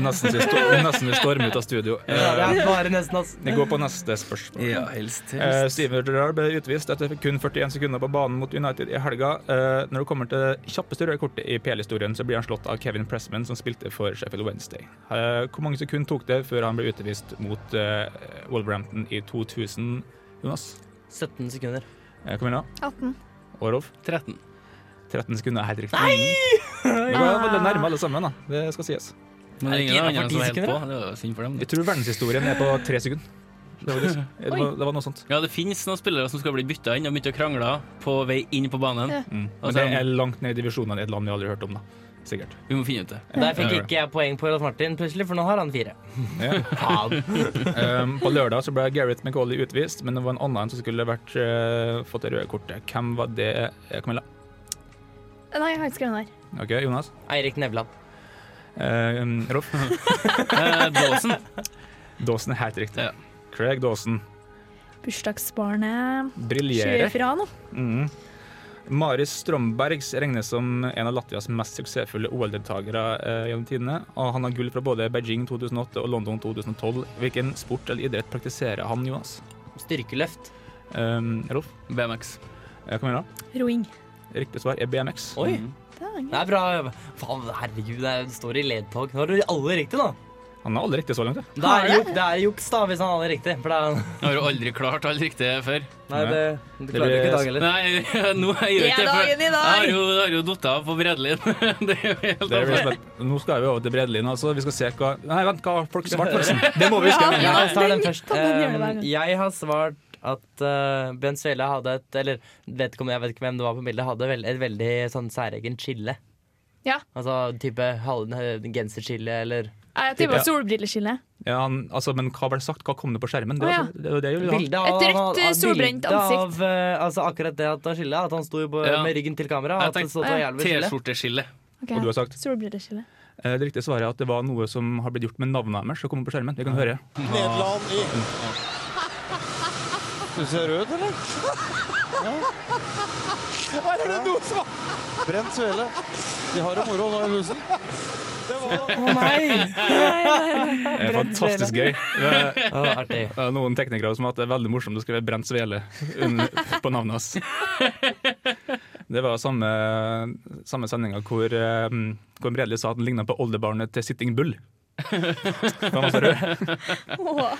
F: Nesten vi sto- nesten vi stormer ut av studio.
E: Ja,
F: Eh,
E: det er bare nesten, altså.
F: Vi går på neste spørsmål.
D: Ja, helst
F: Eh,
D: helst.
F: Steven Gerrard ble utvist etter kun 41 sekunder på banen mot United i helga. Eh, når det kommer til det kjappeste røde kortet i PL-historien, så blir han slått av Kevin Pressman, som spilte for Sheffield Wednesday. Eh, hvor mange sekunder tok det før han ble utvist mot eh, Wolverhampton i 2000, Jonas?
E: 17 sekunder.
F: Eh, kom igjen, da.
K: 18.
F: Og Rolf?
D: 13.
F: 13 sekunder er helt riktig. Nei! Det var veldig nærme alle sammen, da. Det skal sies.
D: Men det er ingen
E: Er
D: andre
E: det innenfor
D: som var helt
E: ti
D: på.
E: sekunder,
D: Det var jo synd for dem.
F: Jeg
D: det.
F: tror verdenshistorien er på tre sekunder. Det var, det, det var, det var noe sånt.
D: Ja, det finnes noen spillere som skal bli bytta inn og begynte å krangle på vei inn på banen.
K: Ja.
F: Mm.
D: Altså,
F: Men det er langt ned i divisjonene i et land vi aldri har hørt om, da. Sikkert.
D: Vi må finne ut det.
E: Der fikk ikke jeg poeng på Rolf Martin plutselig, for nå har han fire.
F: Ja.
E: Faen.
F: Um, på lørdag så ble Gareth McAuley utvist, men det var en annen som skulle vært, eh, fått det røde kortet. Hvem var det, eh, Camilla?
K: Nei, jeg har ikke skrevet den her.
F: OK, Jonas?
E: Eirik Nevland.
F: Eh, um, Rolf?
D: Eh, Dawson.
F: Dawson er helt riktig.
D: Ja.
F: Craig Dawson.
K: Bursdagsbarnet
F: Briljerer.
K: 24 nå.
F: Mm. Maris Strombergs regnes som en av Latvias mest suksessfulle OL-deltakere eh, gjennom tidene. Og han har gull fra både Beijing 2008 og London 2012. Hvilken sport eller idrett praktiserer han, Jonas?
E: Styrkeløft.
F: Um, Rolf?
D: BMX.
F: Eh, Camilla?
K: Roing.
F: Riktig svar er BMX.
E: Oi,
D: Mhm.
E: det er bra. Faen, herregud, det står i ledtog. Nå har du alle riktig, da.
F: Han har alle riktig så langt, ja.
E: Det er, juk, det er juks, da, hvis han hadde riktig. For det er,
D: Jeg har jo aldri klart alt riktig før.
E: nei, det, du klarer jo
F: blir-
E: ikke i dag heller.
D: Nei, nå har jeg gjør ikke
K: Det er
D: det. for
K: dagen i dag.
D: Jeg har jo, jeg har jo datt av på Bredlin. Det er jo helt
F: Det
D: avgjort.
F: er rett og slett- nå skal vi over til Bredelin. Altså. Vi skal se hva Nei, vent, hva har folk svart, forresten? Det må vi huske.
E: Ja, jeg tar den
K: den
E: først.
K: kan man gjøre hver gang.
E: Eh, Jeg har svart at uh, Benzuela hadde et Eller vet ikke om jeg vet ikke hvem det var på bildet, hadde vel- et veldig sånn særegen chille.
K: Ja.
E: Altså type hal- eh, genserskille eller
K: Nei, Jeg tipper
F: Ja.
K: solbrilleskille.
F: Ja, han, altså, men hva ble sagt? Hva kom det på skjermen? Det,
K: Å,
F: var,
K: ja.
F: det, var det jeg ville ha.
E: Bilde av,
K: Et rødt, eh,
E: av- av-
K: solbrent
E: bilde
K: ansikt.
E: Av, eh, altså akkurat det at han skille, at han sto jo på,
D: Ja.
E: med ryggen til kamera.
D: Jeg
E: At det
D: tenkte-
E: så ut som jævlig skille.
D: T-skjorteskille.
K: Ok.
F: Og du har sagt
K: Solbrilleskille.
F: eh, Det riktige svaret er at det var noe som har blitt gjort med navnet deres. som kommer på skjermen. Vi kan høre.
A: Nederland i Du ser rød, eller? Ja. Her er det noe som Brent svele. De har det moro nå i huset.
F: Det er fantastisk gøy. Det
E: Å, artig.
F: er noen teknikere som har hatt det veldig morsomt å skrive 'Brent svele' under- på navnet hans. Det var samme, samme sendinga hvor, eh, hvor Bredli sa at han ligna på oldebarnet til Sitting Bull. Han var så rød.
K: Åh.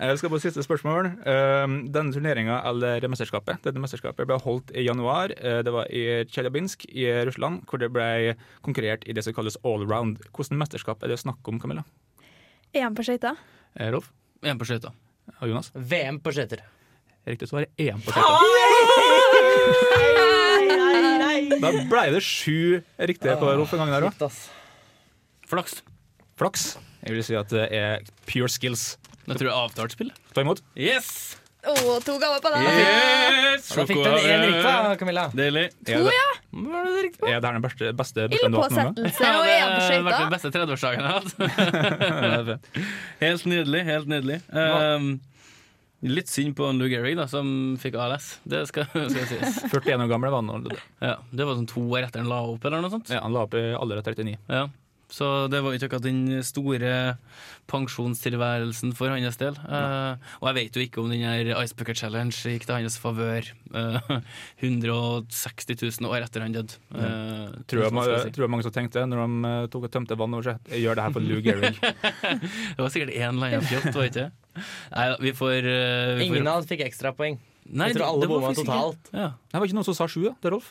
F: Jeg skal på siste spørsmål. Ehm, Denne turneringa, eller mesterskapet, dette mesterskapet ble holdt i januar. Eh, Det var i Tsjeljabinsk i Russland, hvor det ble konkurrert i det som kalles allround. Hvilket mesterskap er det snakk om, Camilla?
K: EM på skøyter.
F: Eh, Rolf
D: En på skøyta.
F: og Jonas?
E: VM på skøyter.
F: Riktig svar er EM på skøyter. Da ble det sju riktige på Rolf en gang der òg.
E: Kjipt, ass.
D: Flaks.
F: Flaks. Jeg vil si at det er pure skills.
D: Det tror jeg er avtalt spill.
F: Ta imot.
D: Yes!
K: Å, to ganger på deg!
D: yes!
E: Da fikk du en én riktig, da, Camilla.
D: Deilig.
F: Er det,
E: Hva var det du riktig på?
F: er det her den beste, beste bursdagen du har hatt noen gang?
K: Ildpåsettelse og EM på
D: vært den
K: skøyter.
D: beste 30-årsdagen jeg har hatt. Helt nydelig. helt nydelig um, Litt synd på Lou Gehrig, da, som fikk ALS. Det skal, skal sies.
F: 41 år gamle var han. da.
D: Ja, det var sånn to år etter han la opp, eller noe sånt.
F: eh, Ja, han la opp i alder av 39.
D: Ja. Så det var jo ikke akkurat den store pensjonstilværelsen for hans del. Eh, og jeg vet jo ikke om den her Ice Bucket Challenge gikk til hans favør eh, 160 000 år etter han døde. Eh,
F: Tror jeg,
D: tusen år, skal
F: tror jeg mange sånn som tenkte når de eh, tok og tømte vann over seg. Jeg gjør det her for Lou Gehrig.
D: jeg si. Det var sikkert én eller annen fjott, var det ikke? Nei, vi får eh, vi får-
E: Ingen av oss fikk ekstrapoeng.
D: Nei, det-
E: Jeg tror alle
D: det var
E: bomma
D: faktisk ikke-
E: totalt.
D: Ja.
F: Det var ikke noen som sa sju, da? Det er Rolf?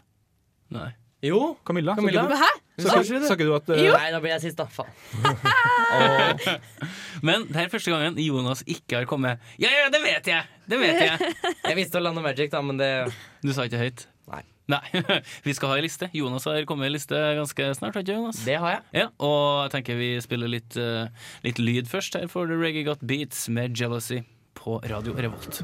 D: Nei.
E: Jo.
F: Camilla? sa
E: Camilla?
F: ikke du-
G: Hæ?
F: Sa
E: Sa
F: ikke
E: ikke du det?
F: sa ikke du at eh,
G: Jo.
E: Nei, da blir jeg sist, da. Faen.
D: Men det er første gangen Jonas ikke har kommet. Ja, ja, det vet jeg! Det vet jeg!
E: Jeg visste Orlando Magic, da, men det
D: Du sa ikke høyt.
E: Nei.
D: Nei. Vi skal ha ei liste. Jonas har kommet med ei liste ganske snart, har ikke du, Jonas?
E: Det har jeg.
D: Ja, og jeg tenker vi spiller litt, eh, litt lyd først. Her får du Reggae Got Beats med 'Jealousy' på Radio Revolt.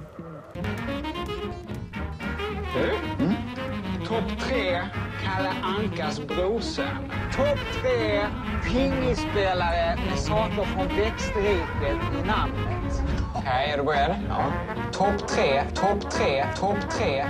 L: Topp tre Kalle Ankas brorsa. Topp tre pingisspelare med saker från växtriket i namnet. Okej, är du beredd? Ja. Topp tre, topp tre, topp tre.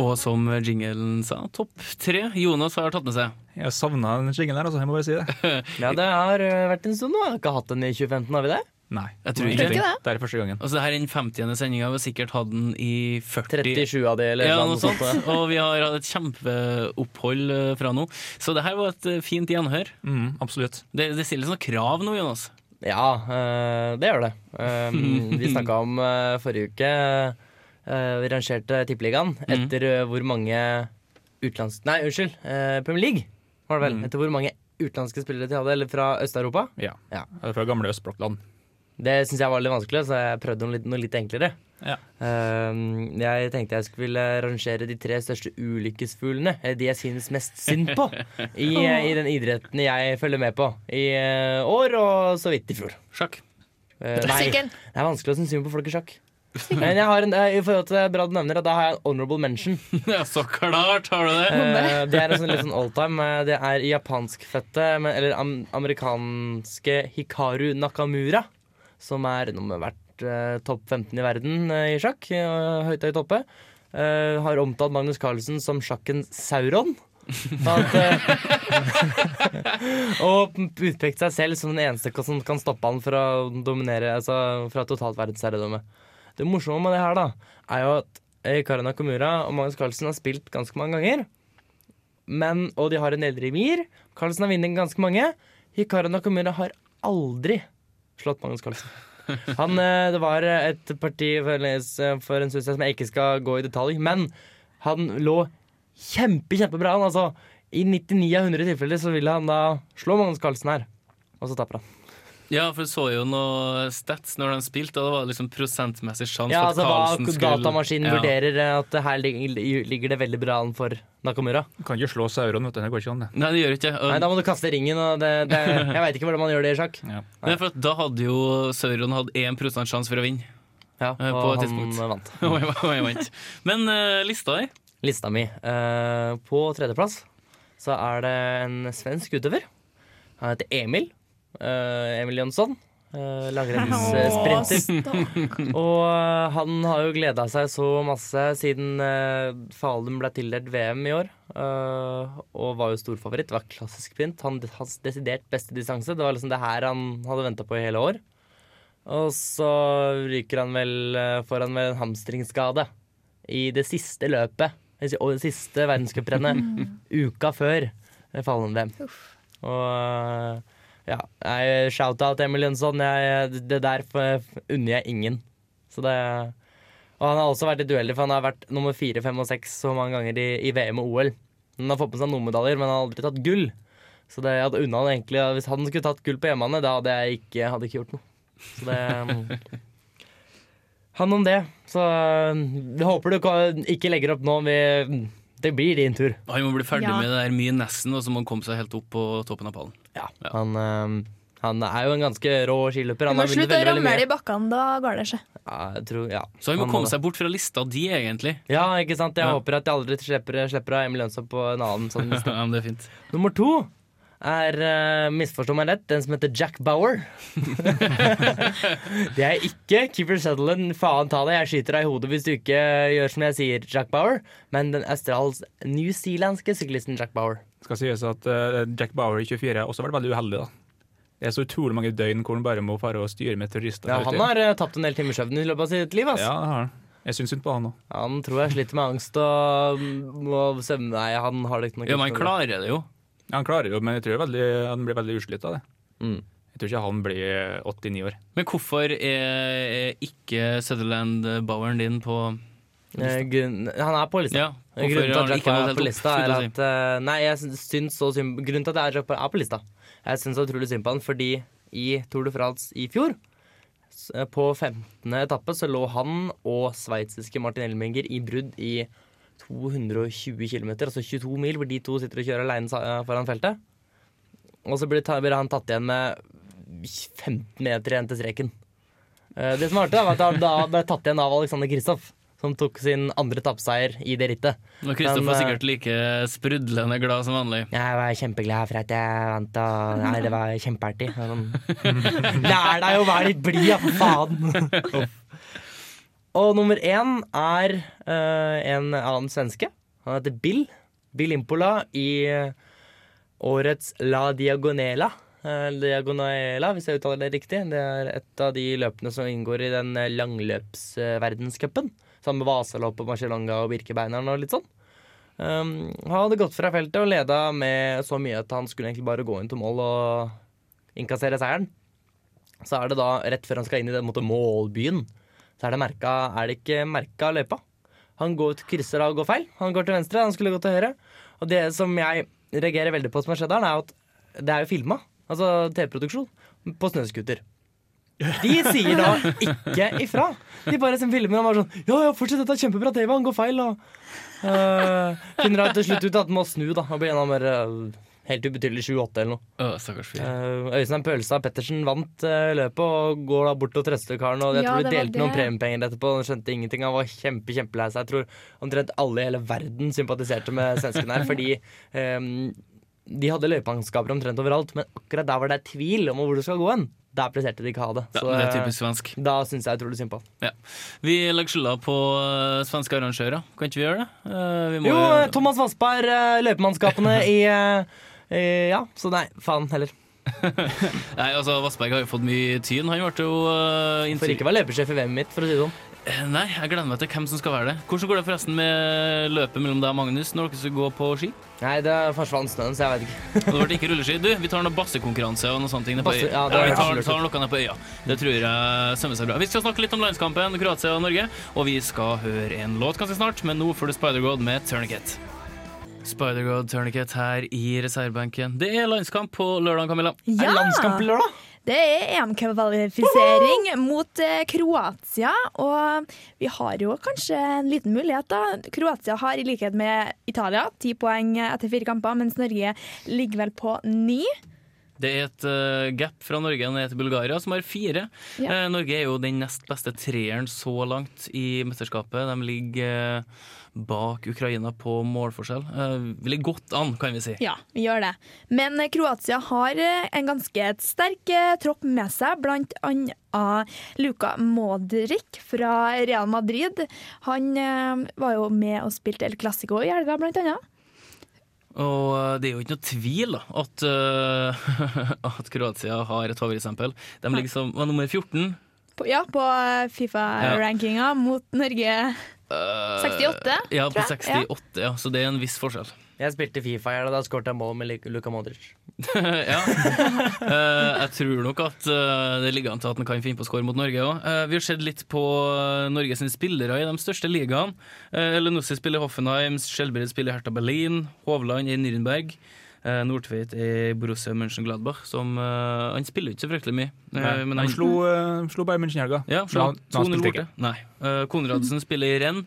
D: Og som jingelen sa, topp tre Jonas har tatt med seg.
F: Jeg savna den jingelen her, altså. Jeg må bare si det.
E: Ja, det har eh, vært en stund nå. Jeg har ikke hatt den i 2015, har vi det?
F: Nei.
D: Jeg tror ikke det.
F: Det er første gangen.
D: Altså, det her er den 50. sendinga. Vi har sikkert hatt den i 40
E: 37 av de, eller
D: Ja,
E: noe sånt. ja.
D: Og vi har hatt et kjempeopphold eh, fra nå. Så det her var et eh, fint gjenhør.
F: Mm, absolutt.
D: Det, det stilles noen krav nå, Jonas.
E: Ja, eh, det gjør det. Um, vi snakka om eh, forrige uke eh, Vi rangerte Tippeligaen etter eh, hvor mange utenlands... Nei, unnskyld. eh, Premier League, var det vel.
F: Mm.
E: Etter hvor mange utenlandske spillere de hadde, eller fra Øst-Europa.
F: Ja.
E: Ja.
F: Det er fra gamle østblokkland.
E: Det syns jeg var litt vanskelig, så jeg prøvde noe litt, noe litt enklere.
F: Ja.
E: Um, jeg tenkte jeg skulle rangere de tre største ulykkesfuglene, eh, de jeg synes mest synd på, i, eh, i den idretten jeg følger med på i eh, år og så vidt i fjor.
D: Sjakk.
E: Eh, nei, det
K: Sikkert.
E: er vanskelig å synes synd på folk i sjakk. Men jeg har en, eh, i forhold til det Brad nevner, at da har jeg en honorable mention.
D: Ja, så klart har du det!
E: Eh, det er en sånn, litt sånn alltime. eh, Det er japanskfødte, men- eller am amerikanske Hikaru Nakamura, som er nå har vært eh, topp 15 i verden eh, i sjakk. eh, høyt høyt oppe. Eh, har omtalt Magnus Carlsen som sjakkens Sauron. At, eh, og utpekt seg selv som den eneste som kan stoppe han fra å dominere altså, fra totalt verdensherredømme. Det morsomme med det her da er jo at eh, Hikaru Nakamura og Magnus Carlsen har spilt ganske mange ganger men, og de har en del remir. Carlsen har vunnet ganske mange. Hikaru Nakamura har aldri slått Magnus Carlsen. Han, eh, det var et parti for eh, for en stund siden som jeg ikke skal gå i detalj, men han lå kjempe, kjempebra an. Altså, I 99 av 100 tilfeller så ville han da slå Magnus Carlsen her, og så taper han.
D: Ja, for du så jo noe stats når de spilte, og det var liksom prosentmessig sjanse
E: Ja,
D: for
E: altså
D: at Carlsen
E: Hva
D: skulle
E: datamaskinen
D: Ja.
E: vurderer eh, at det her ligger, ligger det veldig bra an for Nakamura.
F: Du kan ikke slå sauron, vet du. Det går ikke an, det.
D: Nei, det gjør ikke
E: Nei,
D: og,
E: Da må du kaste ringen, og det, det, jeg veit ikke hvordan man gjør det i sjakk.
D: det er for at Da hadde jo Sauron hatt 1 sjanse for å vinne.
E: Ja,
D: Eh, på
E: og
D: et
E: han
D: tidspunkt.
E: vant.
D: Og jeg- og jeg vant. Men eh, lista di
E: lista mi. Eh, på tredjeplass så er det en svensk utøver. Han heter Emil. Eh, Emil Jønsson. Uh, Langrennssprinter. Og eh, han har jo gleda seg så masse siden uh, Falun ble tildelt VM i år. eh, og var jo storfavoritt. Det var klassisk pynt. Han, hans desidert beste distanse. Det var liksom det her han hadde venta på i hele år. Og så ryker han vel eh, Får han vel en hamstringsskade i det siste løpet, det si- og det siste verdenscuprennet, uka før Fallen-VM. Og eh, ja, nei, shout-out Emil Jønsson. Jeg, det der f- unner jeg ingen. Så det Og han har også vært i dueller, for han har vært nummer fire, fem og seks så mange ganger i, i VM og OL. Han har fått med seg noen medaljer, men han har aldri tatt gull. Så det jeg hadde unna han egentlig og Hvis han skulle tatt gull på hjemmebane, da hadde jeg ikke, hadde ikke gjort noe. Så det Han om det. Så vi håper du ka- ikke legger opp nå. Vi, det blir din tur.
D: Han må bli ferdig
K: Ja.
D: med det der mye nesten, og så må han komme seg helt opp på toppen av pallen.
E: Ja. Han, eh, han er jo en ganske rå skiløper.
K: Du
E: Han
K: må
E: har vunnet
K: slutte
E: veldig,
K: å
E: veldig
K: ramle
E: mye.
K: i bakkene, da går det seg.
E: Ja, jeg tror, ja.
D: Så han må
E: Han
D: komme
E: må det.
D: seg bort fra lista di, egentlig.
E: ja, ikke sant? Jeg
D: Ja.
E: håper at jeg aldri slipper, slipper av Emil Lønsopp på en annen sånn liste.
D: Ja, men det er fint.
E: Nummer to er, eh, misforstå meg rett, den som heter Jack Bauer. det er ikke Keeper Sutherland. Faen ta det, jeg skyter deg i hodet hvis du ikke gjør som jeg sier, Jack Bauer. Men den australsk-newzealandske syklisten Jack Bauer.
F: skal sies at eh, Jack Bauer i 24 har også vært veldig uheldig, da. Det er så utrolig mange døgn hvor han bare må fare og styre med terrorister.
E: Ja,
F: hele
E: han
F: tiden.
E: har eh, tapt en del timer søvn i løpet av sitt liv. Ass.
F: Ja, det har han. Jeg syns synd på han òg.
E: Han tror jeg sliter med angst og, mm, og søvn... Nei, han har det ikke noe
F: Ja, men han klarer
D: det jo.
F: Ja, han klarer det jo, men jeg tror veldig, han blir veldig utslitt av det. Jeg tror ikke han blir 89 år.
D: Men hvorfor er, er ikke Sutherland-boweren din på
E: Eh, grunn- Han er på lista.
D: Ja, hvorfor
E: grunnen
D: har
E: til at
D: han
E: Jack
D: ikke
E: Bauer
D: nådd
E: er
D: helt
E: på
D: opp,
E: lista, er
D: skulle jeg
E: at eh, Nei, jeg syns- syns så synd Grunnen til at jeg er Jack Bauer er på lista, jeg syns så utrolig synd på han fordi i Tour de France i fjor, s- eh, på 15. etappe, så lå han og sveitsiske Martin Elminger i brudd i 220 km, altså 22 mil, hvor de to sitter og kjører aleine foran feltet. Og så blir ta- blir han tatt igjen med 15 meter igjen til streken. Eh, Det som var artig, da, var at han da ble tatt igjen av Alexander Kristoff, som tok sin andre tappseier i det rittet.
D: Når Kristoff
E: Men,
D: var
E: eh,
D: sikkert like sprudlende glad som vanlig.
E: Jeg var kjempeglad for at jeg vant, og nei, det var kjempeartig. Og Sånn. Lær deg å være litt blid, ja, for faen! Og nummer én er eh, en annen svenske. Han heter Bill. Bill Impola i eh, årets La Diagonela. Eh, Diagonela, hvis jeg uttaler det riktig. Det er et av de løpene som inngår i den eh, langløpsverdenscupen. Sammen med Vasaloppet, Marcialonga og Birkebeineren og litt sånn. Um, han hadde gått fra feltet og leda med så mye at han skulle egentlig bare gå inn til mål og innkassere seieren. Så er det da, rett før han skal inn i den måte, målbyen, så er det, merka, er det ikke merka løypa. Han går ut, krysser av og går feil. Han går til venstre, han skulle gå til høyre. Og det som jeg reagerer veldig på som har skjedd her, er at det er jo filma. Altså TV-produksjon. På snøscooter. De sier da ikke ifra. De bare som filmer og bare sånn Ja, ja, fortsett, dette er kjempebra TV, han går feil, og øh, Finner han til slutt ut at han må snu, da. Han blir en av de der, øh, helt ubetydelig 7-8 eller noe.
D: Å, stakkars fyr.
E: Øh, Øystein Pølstad Pettersen vant øh, løpet og går da bort og trøster karen. Og
D: Ja,
E: jeg tror
D: det
E: de
D: var
E: delte noen
D: det.
E: premiepenger etterpå. Han skjønte ingenting. Han var kjempe, kjempelei seg. Jeg tror omtrent alle i hele verden sympatiserte med svenskene her, fordi øh, de hadde løypeanskaper omtrent overalt, men akkurat der var det tvil om hvor du skal gå hen. Der presterte de ikke å ha det.
D: Ja,
E: Så,
D: men det er typisk
E: øh,
D: svensk.
E: Da syns jeg utrolig synd på han.
D: Ja. Vi legger skylda på eh, svenske arrangører. Kan ikke vi gjøre det? Eh, Vi må
E: Jo, Thomas Vassberg, eh, løpemannskapene i eh, eh, Ja, så nei, faen heller.
D: Nei, altså, Vassberg har jo fått mye tyn. Han ble jo uh,
E: Får ikke være løpesjef i VM-et mitt, for å si det sånn.
D: Nei, jeg gleder meg til hvem som skal være det. Hvordan går det forresten med løpet mellom deg og Magnus når dere skal gå på ski?
E: Nei, det forsvant snøen, så jeg vet ikke.
D: Og det ble ikke rulleski. Du, vi tar noe bassekonkurranse og noe sånt. Nede på
E: Basse-
D: øya.
E: ja, det
D: Ja,
E: er
D: vi tar,
E: absolutt.
D: tar noe nede på øya. Det tror jeg sømmer seg bra. Vi skal snakke litt om landskampen Kroatia og Norge, og vi skal høre en låt ganske snart, men nå får du Spider-God med Turniket. Spider-God Turniket her i reservebenken. Det er landskamp på lørdag, Camilla.
K: Ja! Er det landskamp på lørdag? Det er EM-kvalifisering mot eh, Kroatia, og vi har jo kanskje en liten mulighet, da. Kroatia har i likhet med Italia ti poeng etter fire kamper, mens Norge ligger vel på ni.
D: Det er et eh, gap fra Norge ned til Bulgaria, som har fire.
K: Ja.
D: Eh, Norge er jo den nest beste treeren så langt i mesterskapet. De ligger eh, bak Ukraina på målforskjell. Eh, vi ligger godt an, kan vi si.
K: Ja, vi gjør det. Men eh, Kroatia har eh, en ganske sterk eh, tropp med seg, blant annet Luka Modric fra Real Madrid. Han eh, var jo med og spilte El Clasico i helga, blant annet.
D: Og eh, det er jo ikke noe tvil da, at, eh, at Kroatia har et favorittsempel. De ligger som var nummer 14.
K: På, ja, på eh, Fifa-rankinga mot Norge.
D: Eh,
K: 68,
D: Ja,
K: tror
D: på
K: jeg.
D: 68, ja. Så det er en viss forskjell.
E: Jeg spilte Fifa i helga, da skåret jeg mål med Lu- Luka Modric.
D: ja. Eh, jeg tror nok at eh, det ligger an til at han kan finne på å score mot Norge òg. vi har sett litt på eh, Norge sine spillere i de største ligaene. Uh, Lenussi spiller i Hoffenheim, Skjelbred spiller i Hertha Berlin, Hovland i Nürnberg. Uh, Nordtveit er i Borussia Mönchengladbach, som eh, Han spiller jo ikke så fryktelig mye. eh,
F: Nei,
D: men
F: han
D: han-
F: slo, eh, slo Bayern München i helga.
D: ja,
F: Men han-
D: slå
F: men
D: 2-0
F: han spilte
D: borte.
F: ikke.
D: Nei. Eh, Konradsen spiller i renn.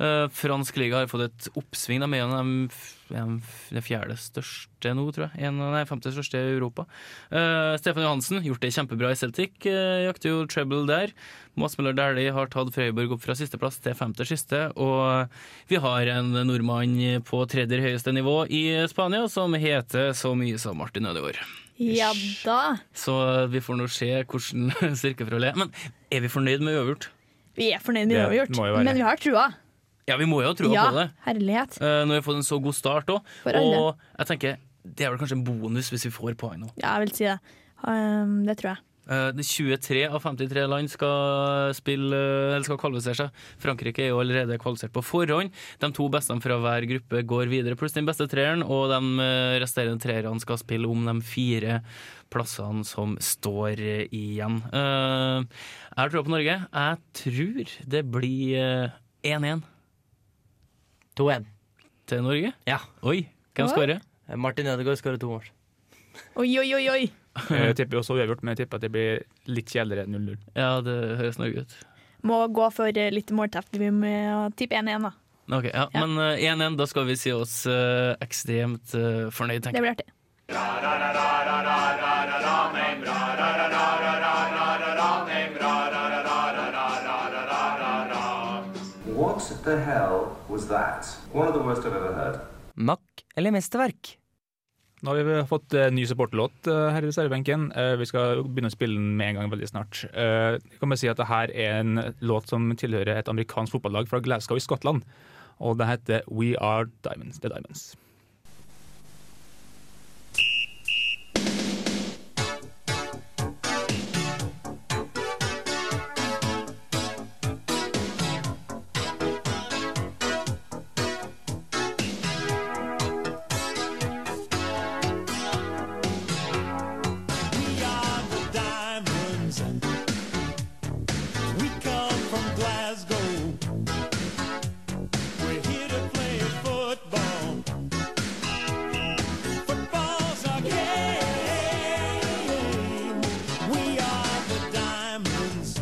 D: Eh, fransk liga har fått et oppsving. De er en av de f- en f- den fjerde største nå, tror jeg. En av de femte største i Europa. Eh, Stefan Johansen gjort det kjempebra i Celtic. eh, jakter jo treble der. Mads Møller Dæhlie har tatt Frøyborg opp fra sisteplass til femte siste. Og vi har en nordmann på tredje høyeste nivå i Spania som heter så mye som Martin Ødegaard.
K: Ja da.
D: Så vi får nå se hvordan styrkeforholdet er. Men er vi fornøyd med uavgjort?
K: Vi er fornøyd med det
D: Det
K: vi har gjort,
D: må jo være.
K: men vi har trua.
D: Ja, vi må jo tro
K: Ja,
D: på det.
K: herlighet.
D: Eh, når vi har fått en så god start òg.
K: For alle.
D: Og jeg tenker, det er vel kanskje en bonus hvis vi får poeng nå.
K: Ja, jeg vil si det. Um, det tror jeg.
D: Eh, det 23 av 53 land skal, spille, eh, eller skal kvalifisere seg. Frankrike er jo allerede kvalifisert på forhånd. De to beste fra hver gruppe går videre, pluss den beste treeren. Og de eh, resterende treerne skal spille om de fire plassene som står eh, igjen. Eh, Jeg har trua på Norge. Jeg tror det blir eh, 1-1.
E: 2-1.
D: Til Norge?
E: Ja.
D: Oi, hvem
K: Oi.
D: skårer?
E: Martin Ødegaard skårer to mål.
K: Oi, oi, oi, oi.
C: Jeg tipper også uavgjort, men jeg tipper at det blir litt kjedeligere enn 0-0.
D: Ja, det høres Norge ut.
K: Må gå for eh, litt målteft. Vi må tippe 1-1, da.
D: Ok, ja. Men eh, 1-1, da skal vi si oss eh, ekstremt eh, fornøyd,
K: Det
D: tenker jeg.
K: blir artig.
A: What the hell was that? One of the worst I've ever heard.
E: Mack eller mesterverk?
C: Nå har vi fått eh, ny supporterlåt eh, her i reservebenken. Eh, Vi skal begynne å spille den med en gang veldig snart. Eh, Jeg kan bare si at det her er en låt som tilhører et amerikansk fotballag fra Glasgow i Skottland. Og det heter We Are Diamonds. The Diamonds.
H: We are the diamonds. We come from Glasgow. We're here to play football. Football's our game. We are the diamonds.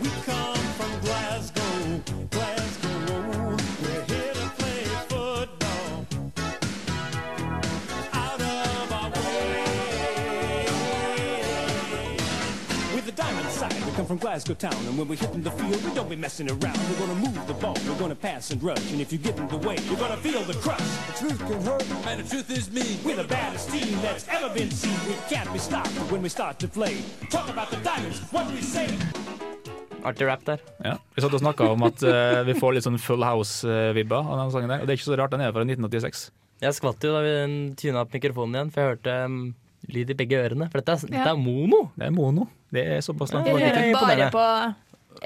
H: We come from Glasgow, Glasgow. We're here to play football. Out of our way. We're the diamond side. We come from Glasgow town, and when we're hitting the field, we don't be messing around. We're gonna move the ball, we're gonna pass and rush, and if you get in the way, you're gonna feel the crush. The truth can hurt, and the truth is mean. We're the baddest team that's ever been seen. We can't be stopped when we start to play. Talk about the diamonds, what we say.
E: Artig rap der.
C: Ja. Vi satt og snakka om at eh, vi får litt sånn Full House-vibba av den sangen der. Og det er ikke så rart, den er fra 1986.
E: Jeg skvatt jo da vi tuna opp mikrofonen igjen, for jeg hørte um, lyd i begge ørene. For dette er,
K: Ja.
E: dette er mono.
C: Det er mono. Det er såpass
K: Dere hører bare på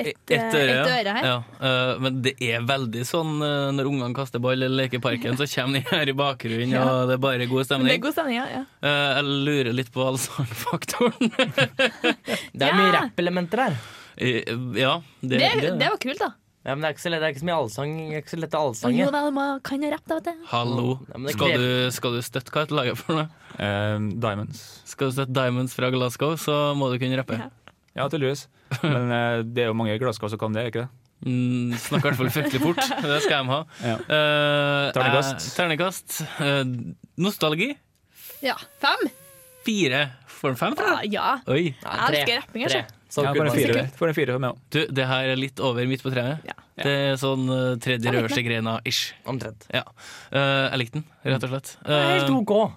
K: ett eh,
D: Ett øre, ja.
K: ett øre her.
D: Ja. Eh, men det er veldig sånn eh, når ungene kaster ball i lekeparken, så kommer de her i bakgrunnen, og det er bare god
K: Men det
D: stemning.
K: er god stemning, ja. ja.
D: Eh, jeg lurer litt på allsangfaktoren.
E: Det er mye rappelementer her.
D: Eh, ja,
K: Det, det, var kult, da.
E: Ja, men det er ikke så lett, det er ikke så mye allsang. Det er ikke så lett å
K: Og
E: allsange.
K: jo da, du må, kan jeg rappe, da, vet du.
D: Hallo.
E: Ja, men det
D: Skal
E: krever-
D: du, skal du støtte hva heter laget for noe?
C: Eh, Diamonds.
D: Skal du støtte Diamonds fra Glasgow, så må du kunne rappe.
C: Ja, tydeligvis. Men eh, det er jo mange i Glasgow som kan det, er ikke det?
D: Mm, snakker i hvert fall fryktelig fort. Det skal de ha.
C: Ja.
D: Eh,
C: Terningkast.
D: eh, terningkast. Eh, nostalgi.
K: Ja. Fem?
D: Fire. Får den fem fra
K: Ja,
D: deg?
K: ja.
D: Oi.
K: Jeg elsker rapping, altså.
C: Ja, får en fire, får en fire for meg òg.
D: Du, det her er litt over midt på treet. Det er sånn eh, tredje
E: Jeg likte
D: rødeste
E: den.
D: greina ish.
E: Omtrent.
D: Ja. Eh, jeg likte den, rett og slett. Eh,
E: Det er helt OK.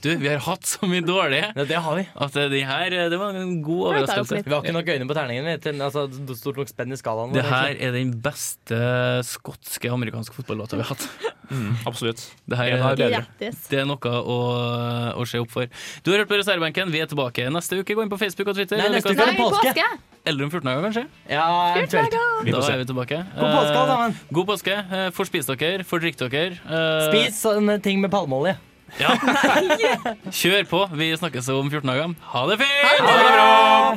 D: du, vi har hatt så mye dårlige
E: Ja, det har vi.
D: at eh, de her eh, Det var en god overraskelse.
E: Vi har ikke nok øyne på terningen. vi, til- Altså, stort nok spenn i skalaen. vår,
D: Det her
E: egentlig.
D: er den beste skotske amerikanske fotballåta vi har hatt.
C: absolutt.
D: Det, her
C: En av
D: er,
C: de bedre.
K: Grattis.
D: det er noe å, å se opp for. Du har hørt på reservebenken. Vi er tilbake neste uke. Gå inn på Facebook og Twitter.
E: Nei, neste uke er det påske.
D: Eller om 14 dager, kanskje.
E: Ja, eventuelt.
C: Vi
D: Da
C: får se.
D: er vi tilbake.
E: God påske, alle sammen.
D: Eh, God påske. Eh, Får spist dere, får drikke dere. Eh,
E: Spis sånne ting med palmeolje.
D: Ja. Kjør på. Vi snakkes om 14 dager. Ha det fint!
E: Ha det bra!